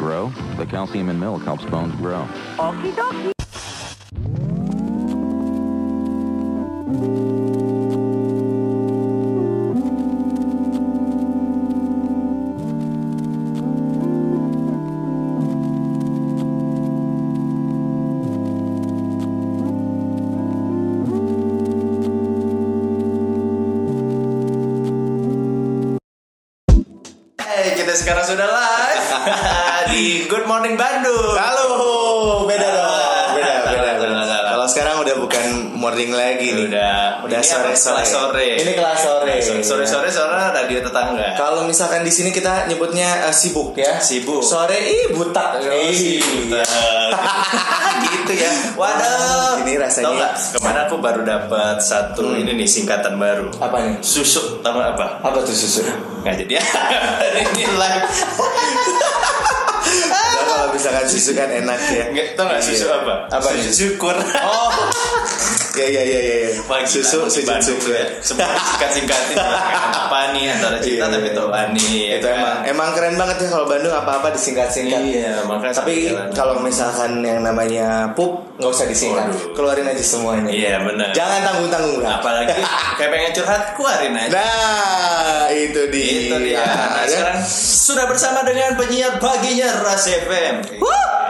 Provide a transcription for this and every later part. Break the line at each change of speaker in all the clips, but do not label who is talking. The calcium in milk helps bones grow.
Okie dokie.
Eh, kita sekarang sudah live di Good Morning Bandung. Halo, beda dong, beda, beda. beda. Kalau sekarang udah bukan morning lagi nih,
Udah,
udah
ini
sore
apa?
sore.
Kelas sore.
Ini kelas sore.
sore sore sore radio tetangga
Kalau misalkan di sini kita nyebutnya eh, sibuk ya.
Sibuk.
Sore ih Iya. butak. Ih.
gitu ya waduh
Ini rasanya- Hmm.
Tau nggak, kemarin aku baru dapat satu ini nih singkatan baru
Apa nih?
susuk tahu nggak apa
Apa tuh susu?
nggak jadi ini live
Padahal kalau misalkan susu kan enak ya.
nggak tau nggak susu
Iya.
apa
Apa
susu
nih?
syukur
Oh. Ya ya ya ya.
Wah, gila,
Susu
aku di
susu
Bandung
susu.
tuh ya. Semua singkat-singkatin apa nih antara cinta
Iya.
tapi tobani ya
itu
kan?
emang emang keren banget ya kalau Bandung apa-apa disingkat-singkat.
Iya,
Tapi
makanya sampai jalan.
kalau misalkan yang namanya pup nggak usah disingkat,
Waduh.
keluarin aja semuanya.
iya benar
Jangan tanggung-tanggung lah.
apalagi kayak pengen curhat keluarin aja
Nah, itu dia. Ya.
Itu dia. Nah,
Ada-
sekarang sudah bersama dengan penyiar paginya Ras FM.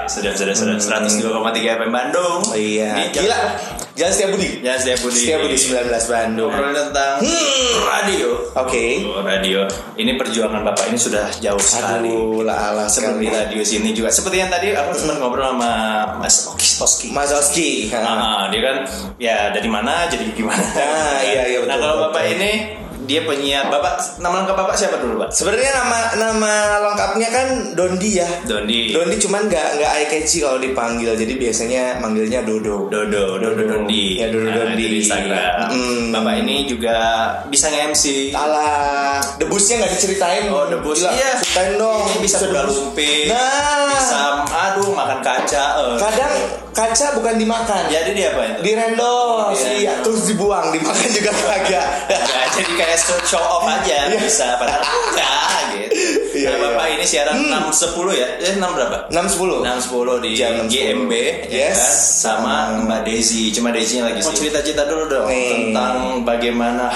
Sudah, sudah, sudah. 102,3 FM Bandung.
Oh, iya.
Di Jalan-
Gila. Jalan Setia Budi.
Jalan setiap budi.
Setia Budi 19 Bandung. Hmm. Oke.
Ngobrol tentang radio.
Okay.
Oh, radio. Ini perjuangan bapak ini sudah jauh sekali.
Aduh, lah ala
Sebelum di
sekali.
radio sini juga. Seperti yang tadi aku sempat ngobrol sama Mas Oki Toski.
Mas Oski. ha.
Ah, dia kan ya dari mana jadi gimana.
Ah, iya, iya, betul,
Nah, kalau
betul.
bapak ini dia penyiar. Bapak nama lengkap bapak siapa dulu, Pak?
Sebenarnya nama nama lengkapnya kan Dondi ya.
Dondi.
Dondi cuman nggak nggak eye catchy kalau dipanggil, jadi biasanya manggilnya Dodo.
Dodo, Dodo Dondi.
Ya, Dodo
Nah,
Dondi.
itu di Instagram.
Mm.
Bapak ini juga bisa nge-MC.
Alah, debusnya nggak diceritain.
Oh, debus.
Gila,
Iya.
Ceritain dong.
Ini bisa
Debus.
sudah lumpit.
Nah.
Bisa aduh makan kaca. eh.
Kadang kaca bukan dimakan.
Jadi dia apa itu?
Di rendos,
Di
iya.
rendos.
Terus dibuang, dimakan juga kagak. Nah,
Ya, jadi kayak show, show off aja
Iya.
bisa padahal enggak gitu.
Iya,
nah,
iya.
Bapak ini siaran 6.10 ya? Eh 6 berapa?
6.10.
Nah, 6.10 di
Jam 6.10.
GMB ya
Yes.
kan? sama Mbak Desi. Cuma Desi yang lagi mau cerita-cerita dulu dong
Nih.
tentang bagaimana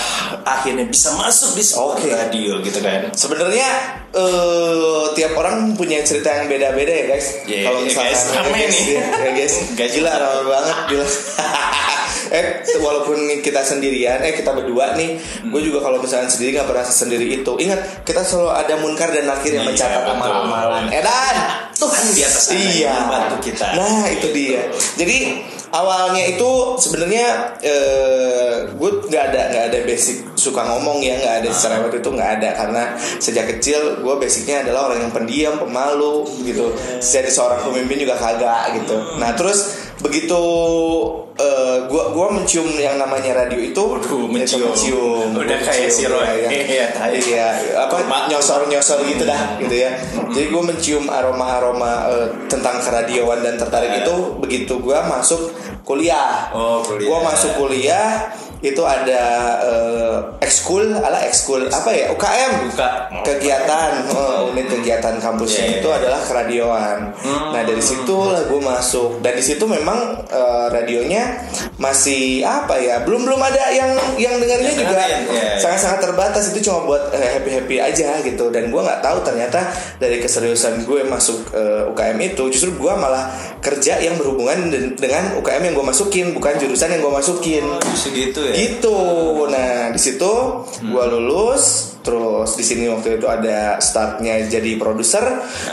akhirnya bisa masuk di sebuah
Oke.
radio gitu kan.
Sebenarnya eh, tiap orang punya cerita yang beda-beda ya guys.
Iya,
Kalau
iya,
misalkan
guys,
ya,
rame
guys,
nih.
ya, ya, guys,
Guys,
gila
rame.
rame banget gila. eh walaupun kita sendirian, eh kita berdua nih,
Hmm.
gue juga kalau misalkan sendiri nggak pernah sendiri itu. Ingat kita selalu ada munkar dan nakir yang
Iya,
mencatat
betul.
amal-amalan. Eh, Edan,
Tuhan di atas sana
iya.
yang membantu kita. Gitu.
Nah itu dia. Jadi awalnya itu sebenarnya eh, gue nggak ada nggak ada basic suka ngomong ya nggak ada secara waktu itu nggak ada karena sejak kecil gue basicnya adalah orang yang pendiam pemalu gitu jadi seorang pemimpin juga kagak gitu nah terus begitu eh, gue gua mencium yang namanya radio itu
Waduh,
itu
mencium.
mencium
Udah
Gua
kayak si
mencium,
Roy.
ya,
Iya,
ya.
tai.
iya apa
Kurma.
nyosor nyosor gitu dah gitu ya
Mm-hmm.
jadi gue mencium aroma aroma tentang keradioan dan tertarik
Ya.
itu begitu gue masuk kuliah
Oh, kuliah.
gue masuk kuliah itu ada eh, ekskul ala ekskul apa ya UKM
Buka.
kegiatan eh, unit kegiatan kampusnya
Iya, Hmm.
itu
iya.
adalah keradioan nah dari situ lah gue masuk dan di situ memang eh, radionya masih apa ya belum belum ada yang yang dengerinnya
Yang
juga
dengerin, iya, iya.
sangat-sangat terbatas itu cuma buat happy happy aja gitu dan gue nggak tahu ternyata dari keseriusan gue masuk eh, UKM itu justru gue malah kerja yang berhubungan den- dengan UKM yang gue masukin bukan jurusan yang gue masukin
Segitu ya.
gitu nah di situ gue
Hmm.
lulus terus di sini waktu itu ada startnya jadi produser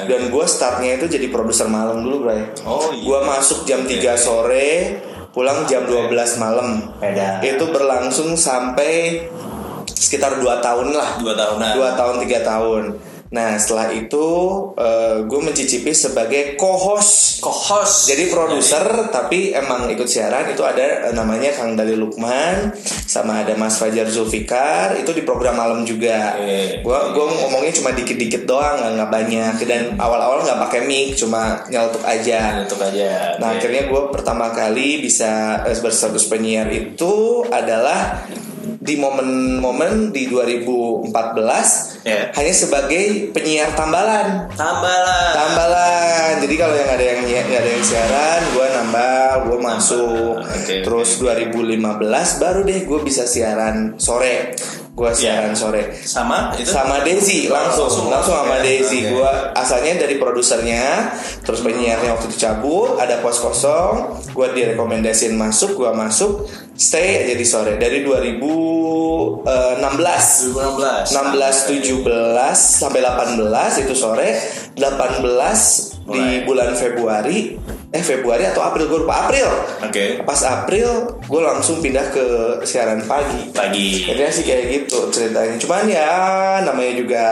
dan gue startnya itu jadi produser malam dulu bray
Oh, iya.
gue masuk jam 3 sore pulang jam 12 malam
Beda.
itu berlangsung sampai sekitar 2 tahun lah
Dua tahunan.
dua tahun tiga tahun nah setelah itu gue mencicipi sebagai co-host
Co-host.
jadi produser tapi emang ikut siaran itu ada eh, namanya Kang Dali Lukman sama ada Mas Fajar Zulfikar itu di program malam juga.
Oke.
Gua gua ngomongnya cuma dikit-dikit doang nggak- nggak banyak dan awal-awal nggak pakai mic cuma nyeletuk aja.
Tutup aja.
Nah
Oke.
akhirnya gue pertama kali bisa eh, berstatus penyiar itu adalah di momen-momen di 2014
Iya.
hanya sebagai penyiar tambalan.
Tambalan.
Tambalan. Jadi kalau yang ada yang nggak ada yang siaran, gue nambah, gue masuk.
Oke,
Terus 2015 baru deh gue bisa siaran sore. Gue siaran
Iya.
sore
sama itu.
sama Desi langsung langsung,
Langsung.
sama
Oke,
Desi
oke.
gua asalnya dari produsernya terus penyiarnya waktu itu cabut ada pos kosong gua direkomendasin masuk gua masuk stay aja di sore dari eh, 2016
2016.
16 17 sampai 18 itu sore 18 di
Mulai.
bulan Februari eh Februari atau April gue lupa April
Oke.
pas April gue langsung pindah ke siaran pagi
Pagi.
Akhirnya sih kayak gitu ceritanya Cuman ya namanya juga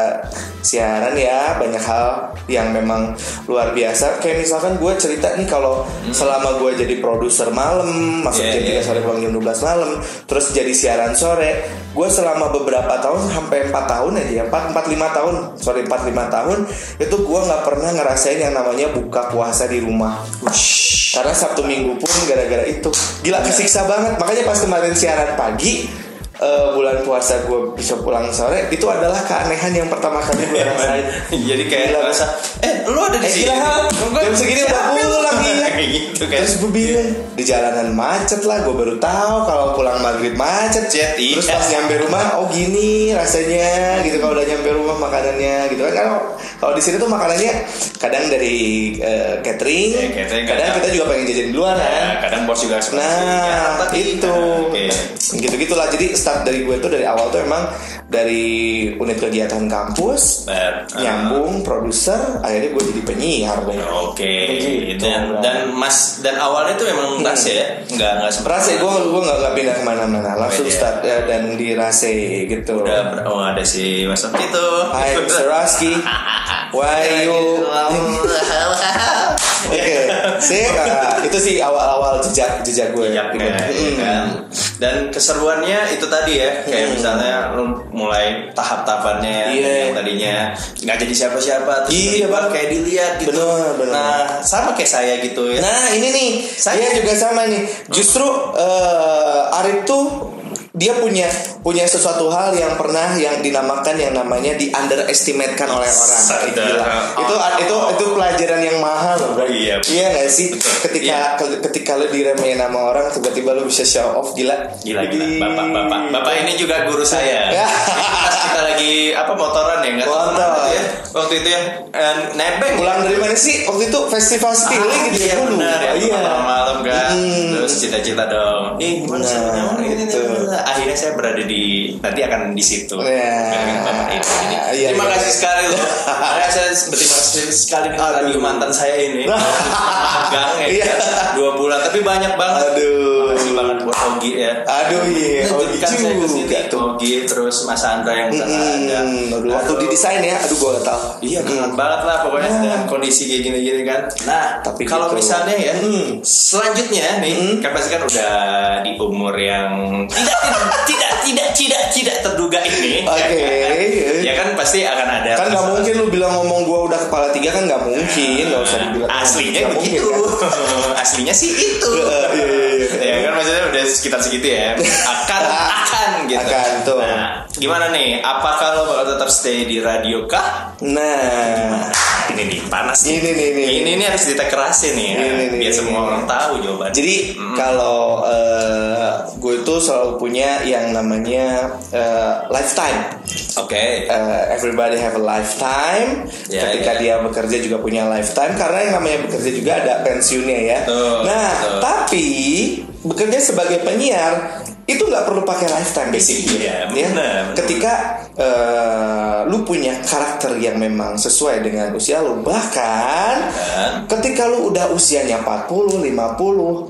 siaran ya Banyak hal yang memang luar biasa Kayak misalkan gue cerita nih kalau selama gue jadi produser malam Masuk
Hmm. Iya,
jam 3
iya.
sore pulang jam 12 malam Terus jadi siaran sore Gue selama beberapa tahun sampai 4 tahun aja ya 4, 4 5 tahun Sorry 4 5 tahun Itu gue gak pernah ngerasain yang namanya buka puasa di rumah karena Sabtu Minggu pun gara-gara itu Gila kesiksa banget Makanya pas kemarin siaran pagi eh, Bulan puasa gue bisa pulang sore Itu adalah keanehan yang pertama kali gue rasain
Iya, Jadi kayak
Iya, Gila,
rasa eh lu ada di
Eh,
sini.
gila, jam segini udah pulang lagi.
Kayak gitu kan.
Terus eh. gue bilang Di jalanan macet lah Gue baru tahu Kalau pulang maghrib macet
Cet, iya.
Terus pas nyampe rumah Oh gini rasanya gitu Kalau udah nyampe rumah makanannya gitu kan Kalau kalau di sini tuh makanannya Kadang dari eh, catering,
Iya, catering,
Kadang
kadang-
kita juga pengen jajan di luar kan
Nah, kadang bos juga seperti
Nah,
tapi-
itu
kan. Oke.
gitu gitulah jadi start dari gue tuh dari awal tuh emang dari unit kegiatan kampus
Bet.
nyambung produser akhirnya gue jadi penyiar deh Gitu.
Oke,
Begitu,
dan
Bang.
dan mas dan awalnya tuh memang rasa ya,
Hmm.
nggak nggak sempat
Rase gue gue nggak nggak pindah kemana-mana langsung
Iya.
start eh, dan di Rase gitu
Udah ber- oh ada si mas Sofi itu.
Hai Mr. Raski Why
gitu
you Oke sih ah, itu sih awal-awal jejak jejak gue
Iya,
gitu.
kayak
Mm.
gitu kan. Dan keseruannya itu tadi ya, kayak misalnya lu mulai tahap-tahapannya
Iya.
yang tadinya nggak jadi siapa-siapa, terus
Iya,
tiba-tiba
Bang.
kayak dilihat gitu.
Bener, bener.
Nah, sama kayak saya gitu ya.
Nah ini nih saya
Iya.
juga sama nih. Justru eh, Arif tuh dia punya punya sesuatu hal yang pernah yang dinamakan yang namanya di underestimatekan oleh orang.
Sadar. Oh,
Gila. Itu itu itu pelajaran yang mahal loh. Bro.
Iya.
Iya nggak sih?
Betul. Iya.
Ketika ke- ketika lu diremehin sama orang tiba-tiba lu bisa show off gila.
Gila, gila. Bapak, bapak, bapak ini juga guru saya. Pas kita lagi apa motoran ya, nggak tahu
Motor.
kemana tuh ya. Waktu itu yang eh, nebeng.
Pulang dari mana sih? Waktu itu festival skilling gitu ya
iya,
dulu.
benar ya,
Iya.
malam-malam kan
Hmm.
terus cita-cita dong ih gimana
Nah,
sih punya orang ini,
gitu.
ini, ini. akhirnya saya berada di nanti akan di situ
Ya.
Dengan bapak ini. Jadi,
Iya,
terima
iya.
kasih sekali loh karena saya berterima kasih sekali dengan radio mantan saya ini gang ya
Iya.
kan. dua bulan tapi banyak banget
Aduh.
makasih banget buat Ogi ya
Aduh iya. Oh,
Lanjutkan saya ke sini,
juga tuh.
Ogi terus Mas Andra yang di sana ada
Hmm, aduh, waktu
Aduh.
didesain ya, aduh gue gatal. Mm.
Iya kangen banget lah pokoknya dengan kondisi kayak gini-gini kan. Nah,
Ah. Tapi
tapi kalau
gitu.
misalnya ya
Hmm.
selanjutnya nih kan pasti kan udah di umur yang tidak tidak tidak tidak tidak terduga ini. ya
Oke.
kan? Ya kan pasti akan ada.
Kan nggak mungkin lu bilang ngomong gue udah kepala tiga kan nggak mungkin, nggak usah dibilang.
Aslinya
Nggak mungkin,
begitu.
kan?
Aslinya sih itu.
Iya, iya, iya.
Ya kan maksudnya udah sekitar segitu ya. Akan akan gitu.
Akan, tuh.
Nah, gimana nih? Apakah lo bakal tetap stay di radio kah?
Nah,
ini nih panas nih.
Ini nih, ini nih.
ini nih harus ditekerasin nih ya.
Ini nih, ini
biar
nih.
semua orang tahu jawabannya
jadi kalau gue itu selalu punya yang namanya eh, lifetime.
oke
uh, everybody have a lifetime.
Ya,
Ketika
ya.
dia bekerja juga punya lifetime karena yang namanya bekerja juga ada pensiunnya ya.
Betul,
nah,
betul.
tapi bekerja sebagai penyiar itu nggak perlu pakai lifetime basically.
Iya,
ya.
benar.
Ketika uh, lu punya karakter yang memang sesuai dengan usia lu bahkan
Dan?
ketika lu udah usianya 40, 50,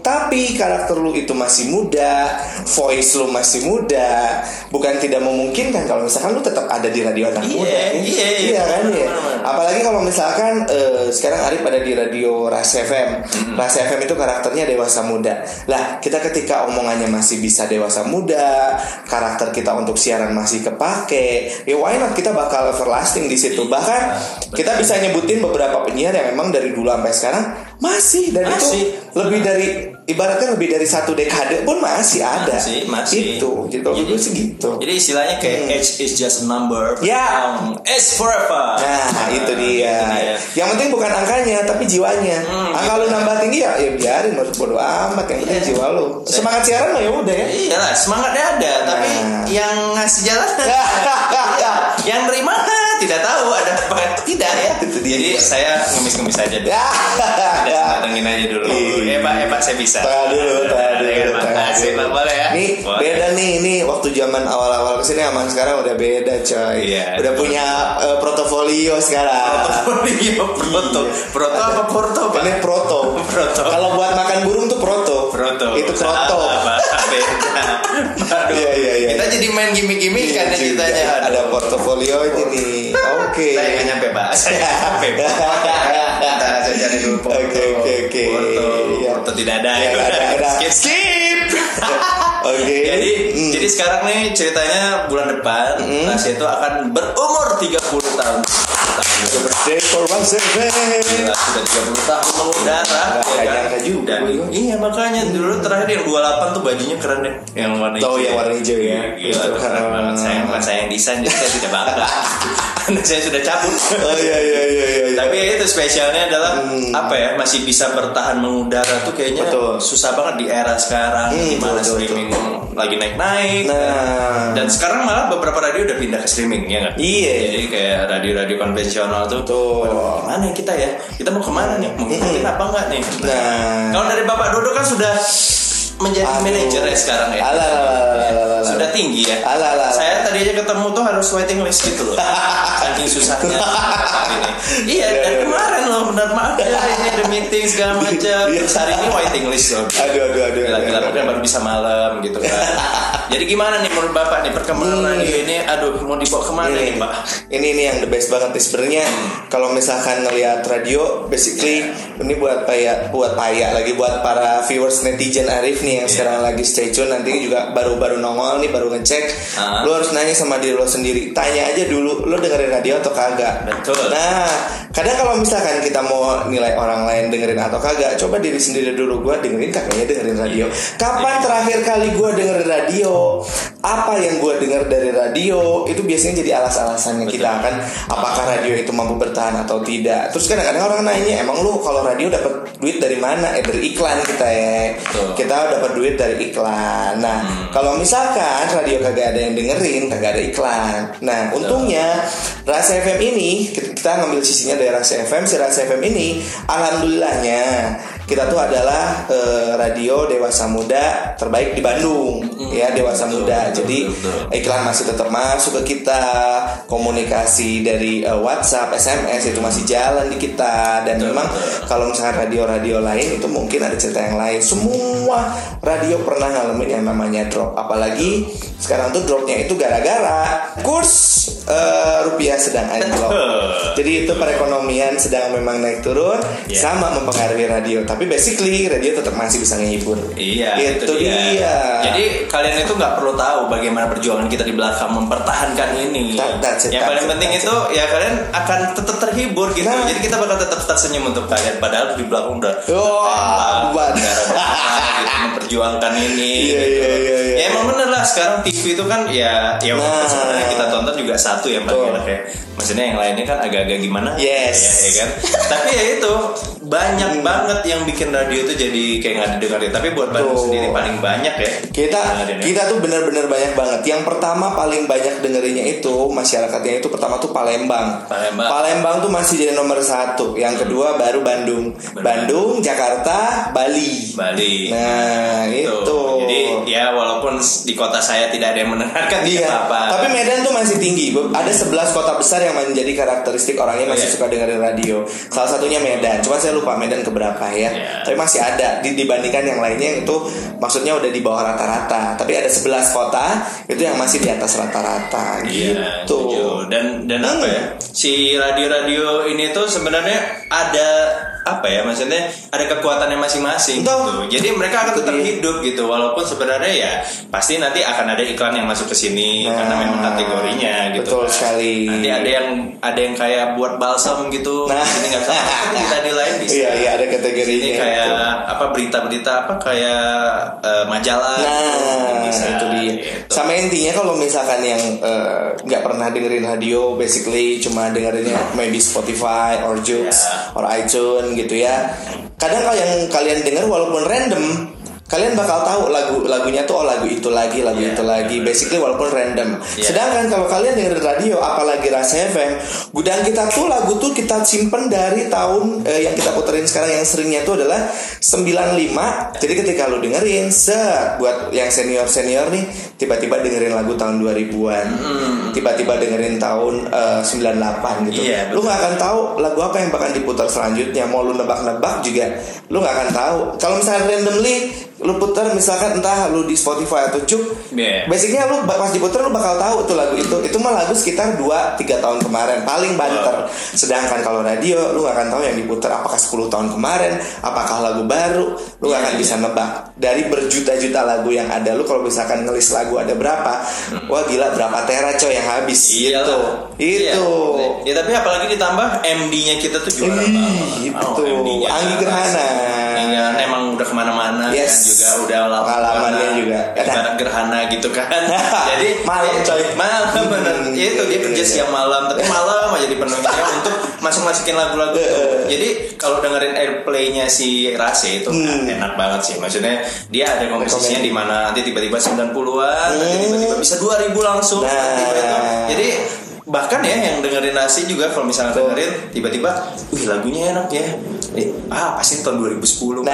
tapi karakter lu itu masih muda, voice lu masih muda, bukan tidak memungkinkan kalau misalkan lu tetap ada di radio anak
Iya,
muda. ya.
iya, iya.
Iya kan ya.
Benar-benar.
Apalagi kalau misalkan eh, sekarang Arif ada di radio Ras FM.
Mm-hmm.
Ras FM itu karakternya dewasa muda. Lah, kita ketika omongannya masih bisa dewasa muda, karakter kita untuk siaran masih kepake, ya why not kita bakal everlasting di situ. Bahkan kita bisa nyebutin beberapa penyiar yang memang dari dulu sampai sekarang masih dan itu
Masih.
lebih dari ibaratnya lebih dari satu dekade pun masih ada
Masih, masih. Iya,
itu jadi kalau gue
Jadi-
sih gitu
Jadi istilahnya kayak age is just a number.
Ya.
Um, age forever.
Nah, itu dia.
Ah, dia.
Yang penting bukan angkanya, tapi jiwanya.
Hmm,
Angka lu nambah tinggi ya, ya biarin lu bodo amat yang penting
Iya.
jiwa lu. Semangat siaran mah ya udah ya.
Iya lah, semangatnya ada, tapi
Nah.
yang ngasih jalan, Iya, yang terima tidak tahu ada apa tidak ya. Jadi saya ngemis-ngemis aja dulu. Ada datengin aja dulu.
Ya, Iya.
Eh pak, eh pak saya bisa.
Tengah dulu, tengah dulu,
Ya, Pak.
tengah
Kasih,
dulu.
Pak. boleh ya.
Ini
Boleh.
beda nih, ini waktu zaman awal-awal kesini sama sekarang udah beda coy.
Iya. Oh,
Udah punya eh, portofolio sekarang.
Portofolio, proto, proto apa porto pak?
Ini proto.
Proto.
Kalau buat makan burung tuh proto.
Proto.
Itu
Salah,
proto.
Pak. Beda. Aduh.
Iya, iya, iya.
Kita jadi main gimmick-gimmick
Iya
kan
juga,
ceritanya. Aduh.
Ada portofolio ini. Oke.
Saya nggak nyampe pak, saya nggak nyampe. Pak. Bentar, saya cari dulu porto.
Oke, oke, oke.
Porto,
Iya.
porto tidak ada.
Iya,
ya
nggak ada, nggak ada.
Skip, skip.
Oke.
jadi,
Hmm.
jadi sekarang nih ceritanya bulan depan Tasya itu akan berumur 30 tahun. Tahun
Day for one seven.
Gila, Iya, sudah 30 tahun mengudara.
Nggak
ya kan?
nyangka gitu juga
Dan-
gue.
Iya makanya dulu terakhir yang 28 tuh bajunya keren deh, yang warna
Tahu yang warna hijau ya.
Gila, itu keren banget. iya. Saya bukan saya yang desain, jadi saya tidak bangga. Karena saya sudah cabut.
Oh iya iya iya iya. iya.
Tapi ya itu spesialnya adalah apa ya masih bisa bertahan mengudara tuh kayaknya
Betul.
susah banget di era sekarang
Hmm,
di mana
betul, betul.
streaming lagi naik-naik.
Nah.
Dan sekarang malah beberapa radio udah pindah ke streaming ya nggak?
Iya.
Jadi kayak radio-radio konvensional tuh
Betul.
"Waduh, Mana kita ya? Kita mau kemana nih? Mau ngikutin apa enggak nih?
Nah.
Kalau dari Bapak Dodo kan sudah menjadi
Aduh.
manajer ya sekarang ya.
Alah, alah, alah, alah, alah.
Sudah tinggi ya.
Alah, alah.
Saya tadi aja ketemu tuh harus waiting list gitu loh. Saking susahnya. ini. Iya,
Iya,
dan
iya.
kemarin loh benar maaf ya ini ada meeting segala macam.
Iya.
Terus hari ini waiting list loh.
Aduh aduh aduh.
Gila-gila
aduh, aduh.
mungkin baru bisa malam gitu kan. Jadi gimana nih menurut Bapak nih perkembangan
Hmm.
radio ini? Aduh, mau dibawa kemana nih, Hmm.
ini,
Pak?
ini ini yang the best banget nih sebenarnya kalau misalkan ngelihat radio basically ini buat paya buat paya lagi buat para viewers netizen Arif nih yang sekarang lagi stay tune nanti juga baru-baru nongol nih baru ngecek
Ah.
lu harus nanya sama diri lo sendiri tanya aja dulu lu dengerin radio atau kagak
Betul.
nah kadang kalau misalkan kita mau nilai orang lain dengerin atau kagak coba diri sendiri dulu gue dengerin kagaknya dengerin radio kapan terakhir kali gue dengerin radio apa yang gue denger dari radio itu biasanya jadi alas-alasannya kita akan apakah radio itu mampu bertahan atau tidak terus kadang-kadang orang nanya emang lu kalau radio dapat duit dari mana eh dari iklan kita ya
Betul.
kita dapat duit dari iklan nah
Hmm.
kalau misalkan radio kagak ada yang dengerin kagak ada iklan nah untungnya Rasa FM ini kita kita ngambil sisinya dari Rasa FM si Rasa FM ini alhamdulillahnya kita tuh adalah eh, radio dewasa muda terbaik di Bandung ya dewasa
Hmm. betul,
muda
betul,
jadi
betul, betul.
iklan masih tetap masuk ke kita komunikasi dari eh, WhatsApp SMS itu masih jalan di kita dan
Betul,
memang
betul.
kalau misalnya radio-radio lain itu mungkin ada cerita yang lain semua radio pernah ngalamin yang namanya drop apalagi sekarang tuh dropnya itu gara-gara kurs eh, rupiah sedang anjlok jadi itu perekonomian sedang memang naik turun
Iya.
sama mempengaruhi radio tapi basically radio tetap masih bisa ngehibur
Iya,
itu, dia,
Jadi kalian itu nggak perlu tahu bagaimana perjuangan kita di belakang mempertahankan ini.
That- that's it,
yang
that's
paling
it,
penting
that's
itu ya kalian akan tetap terhibur gitu.
Nah. Iya.
Jadi kita bakal tetap tersenyum untuk kalian. Padahal di belakang udah
wah buat
gitu, memperjuangkan ini.
Iya,
gitu.
iya, iya, iya.
Ya emang bener lah sekarang TV itu kan ya ya walaupun
Nah.
sebenarnya kita tonton juga satu ya
Betul.
Mbak ya. Maksudnya yang lainnya kan agak-agak gimana?
Yes. Hmm.
Ya, ya kan. Tapi ya itu banyak banget yang bikin radio itu jadi kayak nggak didengarin. Tapi buat Bandung
Betul.
sendiri paling banyak ya.
kita
Dengerin ya.
kita tuh benar-benar banyak banget. Yang pertama paling banyak dengerinnya itu masyarakatnya itu pertama tuh Palembang.
Palembang.
tuh masih jadi nomor satu. Yang kedua baru Bandung,
Benar.
Bandung, Jakarta, Bali.
Bali.
Nah
Tuh.
itu.
Jadi ya walaupun di kota saya tidak ada yang mendengarkan
Iya,
tidak apa.
tapi Medan tuh masih tinggi. Be- Ada 11 kota besar yang menjadi karakteristik orangnya masih
Iya.
suka dengerin radio. Salah satunya Medan. Cuma saya lupa Medan keberapa ya.
Iya.
Tapi masih ada di- dibandingkan yang lainnya yang itu maksudnya udah di bawah rata-rata. Tapi ada 11 kota itu yang masih di atas rata-rata
Iya,
gitu.
setuju. Dan dan apa
Hmm.
ya? Si radio-radio ini tuh sebenarnya ada apa ya maksudnya ada kekuatannya masing-masing
Betul. Iya.
gitu. Jadi mereka akan
Itu
tetap
dia.
hidup gitu walaupun sebenarnya ya pasti nanti akan ada iklan yang masuk ke sini Iya, karena
Nah,
memang kategorinya gitu.
betul
kan.
sekali.
Nanti ada yang ada yang kayak buat balsam gitu.
Nah.
Ini nggak bisa. Tapi Kita di lain bisa.
Iya, iya, ada kategorinya.
Ini kayak apa berita-berita apa kayak eh, majalah.
Nah,
gitu. Bisa,
itu dia.
gitu.
Sama intinya kalau misalkan yang eh, nggak pernah dengerin radio, basically cuma dengerinnya maybe Spotify or Joox
Ya.
or iTunes gitu ya. Kadang kalau yang kalian denger walaupun random, kalian bakal tahu lagu lagunya tuh oh lagu itu lagi, lagu
Ya,
itu lagi. Basically walaupun random.
Ya.
Sedangkan kalau kalian dengerin radio, apalagi Rasa FM, gudang kita tuh lagu tuh kita simpen dari tahun eh, yang kita puterin sekarang yang seringnya tuh adalah 95. Jadi ketika lu dengerin set buat yang senior-senior nih tiba-tiba dengerin lagu tahun 2000-an.
Hmm.
Tiba-tiba dengerin tahun eh, 98 gitu.
Iya,
lu nggak akan tahu lagu apa yang bakal diputar selanjutnya. Mau lu nebak-nebak juga lu nggak akan tahu. Kalau misalnya randomly lu putar misalkan entah lu di Spotify atau Cuk
Iya.
Basicnya lu ba- pas diputer lu bakal tahu tuh lagu itu. Itu mah lagu sekitar 2 3 tahun kemarin paling banter. Sedangkan kalau radio lu gak akan tahu yang diputer apakah 10 tahun kemarin, apakah lagu baru, lu gak
Iya,
akan
iya.
bisa nebak. Dari berjuta-juta lagu yang ada lu kalau misalkan ngelis lagu ada berapa, wah gila berapa tera coy yang habis
Hmm. Iya
gitu. Itu.
Ya tapi apalagi ditambah MD-nya kita tuh juara
Ih,
banget.
itu.
MD-nya
Anggi
apa
Gerhana.
sih? Anggi Gerhana emang udah kemana-mana
Yes.
kan juga udah lama.
Pengalamannya
karena
juga.
Ibarat gerhana gitu kan. Jadi eh,
Malam, coy. Hmm.
Malam bener. Ya itu dia kerja
Iya, iya.
siang malam tapi malam aja dipenuhinya untuk masuk-masukin lagu-lagu. itu. Jadi kalau dengerin airplay-nya si Rase itu kan,
Hmm.
enak banget sih. Maksudnya dia ada komposisinya di mana nanti tiba-tiba 90-an, nanti
Hmm.
tiba-tiba bisa 2000 langsung.
Nah.
nanti tiba-tiba- Jadi bahkan ya yang dengerin nasi juga kalau misalnya dengerin tiba-tiba wih lagunya enak ya Eh, ah pasti tahun 2010
Nah,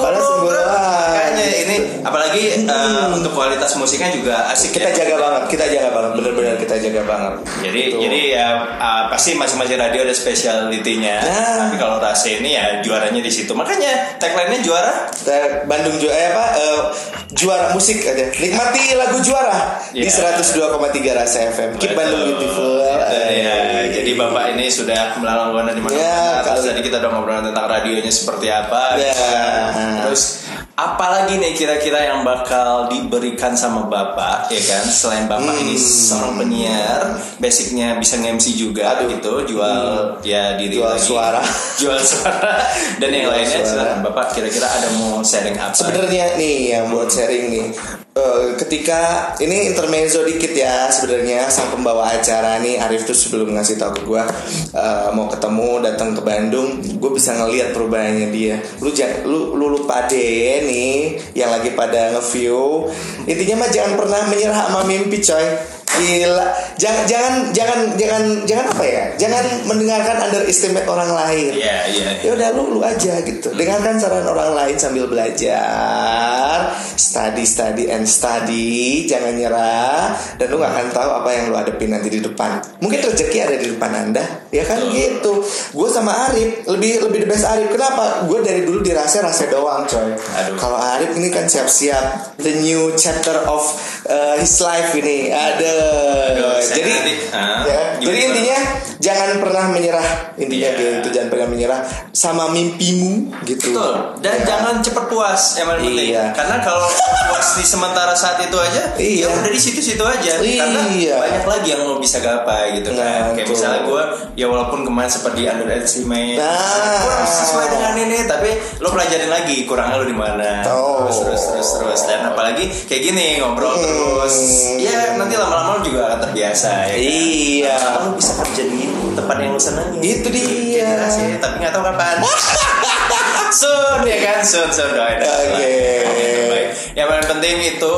padahal
2010, bro.
sembulan.
Makanya ini apalagi eh, untuk kualitas musiknya juga asik
Hmm. Kita
ya.
jaga banget, kita jaga banget, bener-bener kita jaga banget.
jadi
Gitu.
jadi ya eh, pasti masing-masing radio ada speciality-nya
Nah.
tapi kalau rasa ini ya juaranya di situ makanya tagline-nya juara
Eh, Bandung juara eh, apa eh, juara musik aja nikmati lagu juara di
Iya.
102,3 rasa FM keep Bandung
Betul.
beautiful Iya,
Betul, ya. Jadi bapak ini sudah melalui di mana
Ya,
Terus
kalau-
tadi kita udah ngobrol tentang radionya seperti apa.
Ya.
Terus apalagi nih kira-kira yang bakal diberikan sama bapak ya kan? Selain bapak ini
Hmm.
seorang penyiar, basicnya bisa nge-MC juga
Aduh. Hmm.
gitu, jual ya diri
Jual
lagi.
suara.
jual suara dan yang
Jual
lainnya.
suara.
Silakan bapak kira-kira ada mau sharing apa?
sebenarnya nih yang buat sharing nih eh, ketika ini intermezzo dikit ya sebenarnya sang pembawa acara nih Arif tuh sebelum ngasih tahu ke gue mau ketemu datang ke Bandung gue bisa ngelihat perubahannya dia lu jangan lu lu lupa deh nih yang lagi pada nge-view intinya mah jangan pernah menyerah sama mimpi coy Gila, jangan jangan jangan jangan jangan apa ya? Jangan mendengarkan underestimate orang lain
Iya, iya.
ya udah lu lu aja gitu dengarkan saran orang lain sambil belajar study study and study jangan nyerah dan lu gak akan tahu apa yang lu hadepin nanti di depan
Ya.
mungkin rezeki ada di depan anda ya kan gitu gue sama Arif lebih lebih the best Arif kenapa gue dari dulu dirasa rasa doang coy
Aduh.
kalau Arif ini kan siap-siap the new chapter of uh, his life ini ada
Aduh, saya
jadi
nanti, ah,
ya,
gimana?
jadi intinya jangan pernah menyerah intinya
Iya.
gitu jangan pernah menyerah sama mimpimu gitu
Betul.
Ya.
Dan jangan cepat puas yang paling penting.
Iya.
Karena kalau puas di sementara saat itu aja,
Iya.
ya udah di situ-situ aja. Karena
Iya.
banyak lagi yang lo bisa gapai gitu
Nah,
kan. Kayak
betul.
misalnya gue, ya walaupun kemarin seperti underestimate,
Nah.
kurang sesuai dengan ini, tapi lo pelajarin lagi kurangnya lo di mana.
Oh.
Terus, terus, terus, terus. Dan apalagi kayak gini ngobrol
Hmm.
terus, ya nanti lama-lama lo juga akan terbiasa. Ya kan?
Iya.
Lama-lama lo bisa kerja di gitu, tempat yang lo senangi.
Itu dia.
Jadi rasanya, tapi nggak tahu kapan. Sun ya kan Sun Sun doain aja lah.
Oke.
Baik. Yang paling penting itu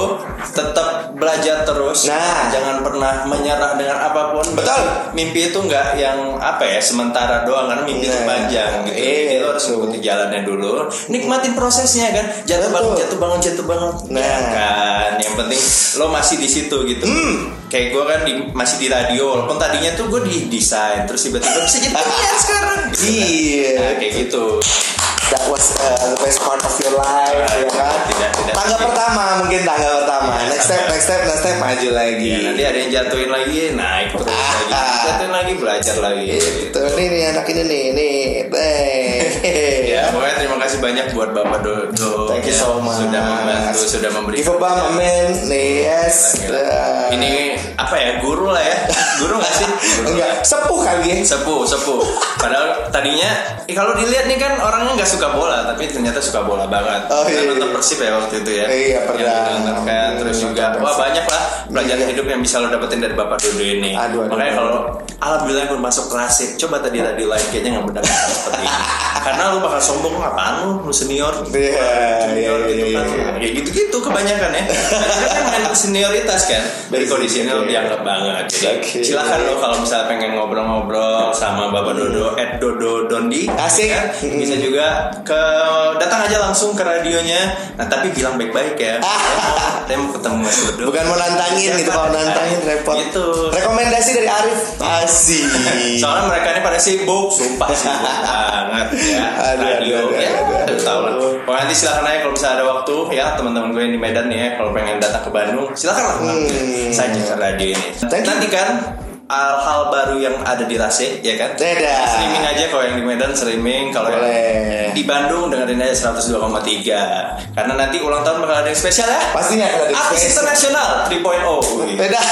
tetap belajar terus
Nah.
Jangan pernah menyerah dengan apapun
Betul.
Mimpi itu nggak yang apa ya Sementara doang kan mimpi itu
Nah.
panjang gitu
Iya,
Jadi lo harus
betul.
mengikuti jalannya dulu Nikmatin prosesnya kan Jatuh
Betul.
bangun, jatuh bangun, jatuh bangun
Nah.
Ya kan Yang penting lo masih di situ gitu
Hmm.
Kayak gue kan di- masih di radio Walaupun tadinya tuh gue di desain Terus tiba-tiba bisa jadi penyiar sekarang gitu kan.
Iya.
Nah, kayak gitu
that was uh, the best part of your life ya kan
Tidak, tidak.
tangga pertama mungkin tangga pertama nah next step next step next step maju lagi
Ya, nanti ada yang jatuhin lagi, naik terus lagi. Jatuhin lagi, belajar lagi.
Gitu, nih nih anak ini nih nih teh.
Ya, pokoknya terima kasih banyak buat Bapak Dodo.
Thank you
ya,
so much.
Sudah membantu, sudah memberi.
Give a bum, a man. Nih, yes. Dah.
Ini apa ya, guru lah ya. Guru nggak sih? Guru.
enggak sepuh kali ya.
Sepuh, sepuh. Padahal tadinya eh, kalau dilihat nih kan orangnya nggak suka bola, tapi ternyata suka bola banget.
Oh,
Kita
iya,
nonton
iya.
Persib ya waktu itu ya.
Iya, pernah.
Yang nonton kan, terus
Nonton
juga wah
Persib.
banyak lah pelajaran
Iya.
hidup yang bisa lo dapetin dari Bapak Dodo ini.
Aduh, aduh,
Makanya
aduh.
kalau alhamdulillah gue masuk klasik, coba tadi tadi live kayaknya nggak benar seperti ini. Karena lu bakal sombong apaan lu, lu senior.
Iya,
Junior
iya,
gitu
iya,
kan.
iya.
Ya gitu-gitu kebanyakan ya. Akhirnya kan main senioritas kan.
Basic,
Dari kondisi ini
iya.
lo dianggap banget. Jadi
Oke.
silakan lo kalau misalnya pengen ngobrol-ngobrol sama Bapak Dodo at Dodo Dondi
Asik.
ya, bisa juga ke datang aja langsung ke radionya nah tapi bilang baik-baik ya saya mau ketemu Mas Dodo
Ah. Bukan mau nantangin gitu kalau nantangin repot.
Gitu.
Rekomendasi dari Arif Asih.
soalnya mereka ini pada sibuk sumpah sibuk banget ya
Aduh,
radio
aduh, aduh,
ya
aduh, aduh.
tahu lah Pokoknya nanti silakan aja kalau misalnya ada waktu ya teman-teman gue yang di Medan nih ya kalau pengen datang ke Bandung silakan lah
Hmm.
saja ke radio ini
Thank you.
nanti kan hal-hal baru yang ada di Rase ya kan
Dadah.
streaming aja kalau yang di Medan streaming kalau
Boleh.
yang di Bandung dengerin aja 102,3 karena nanti ulang tahun bakal ada yang spesial ya
Pastinya akan ada
artis
spesial.
internasional 3.0 Wih.
Beda.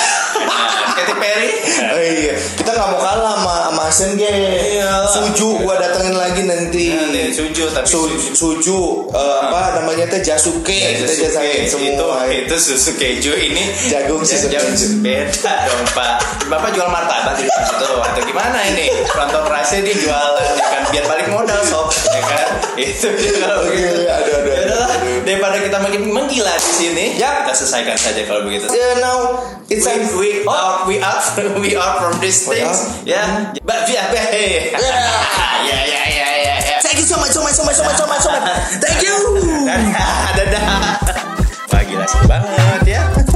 Katy Perry
Oh iya, kita nggak mau kalah sama sama Asian Games.
Iyalah.
Suju gua datengin lagi nanti.
Nanti Iya. Suju, tapi
Su-
Suju.
Suju eh, apa namanya teh Jasuke. Nah, Kita jasain
itu,
semua.
itu susu keju ini
Jagung susu
jauh
keju.
beda dong pak bapak jual martabak di depan situ atau gimana ini penonton rasa dia jual ya kan biar balik modal sob ya kan itu dia kalau
Oke,
begitu
Oh, iya, aduh, aduh,
Ya udahlah,
aduh. Ya.
daripada kita makin menggila di sini
Yap.
kita selesaikan saja kalau begitu
Eh, now it's
we,
time.
we out we out we out from these
Oh. We
things
out.
ya but yeah yeah ya ya ya ya ya
Thank you so much, so much, so much, so much, so much, so much. Thank you.
dadah dadah wah gila seru banget ya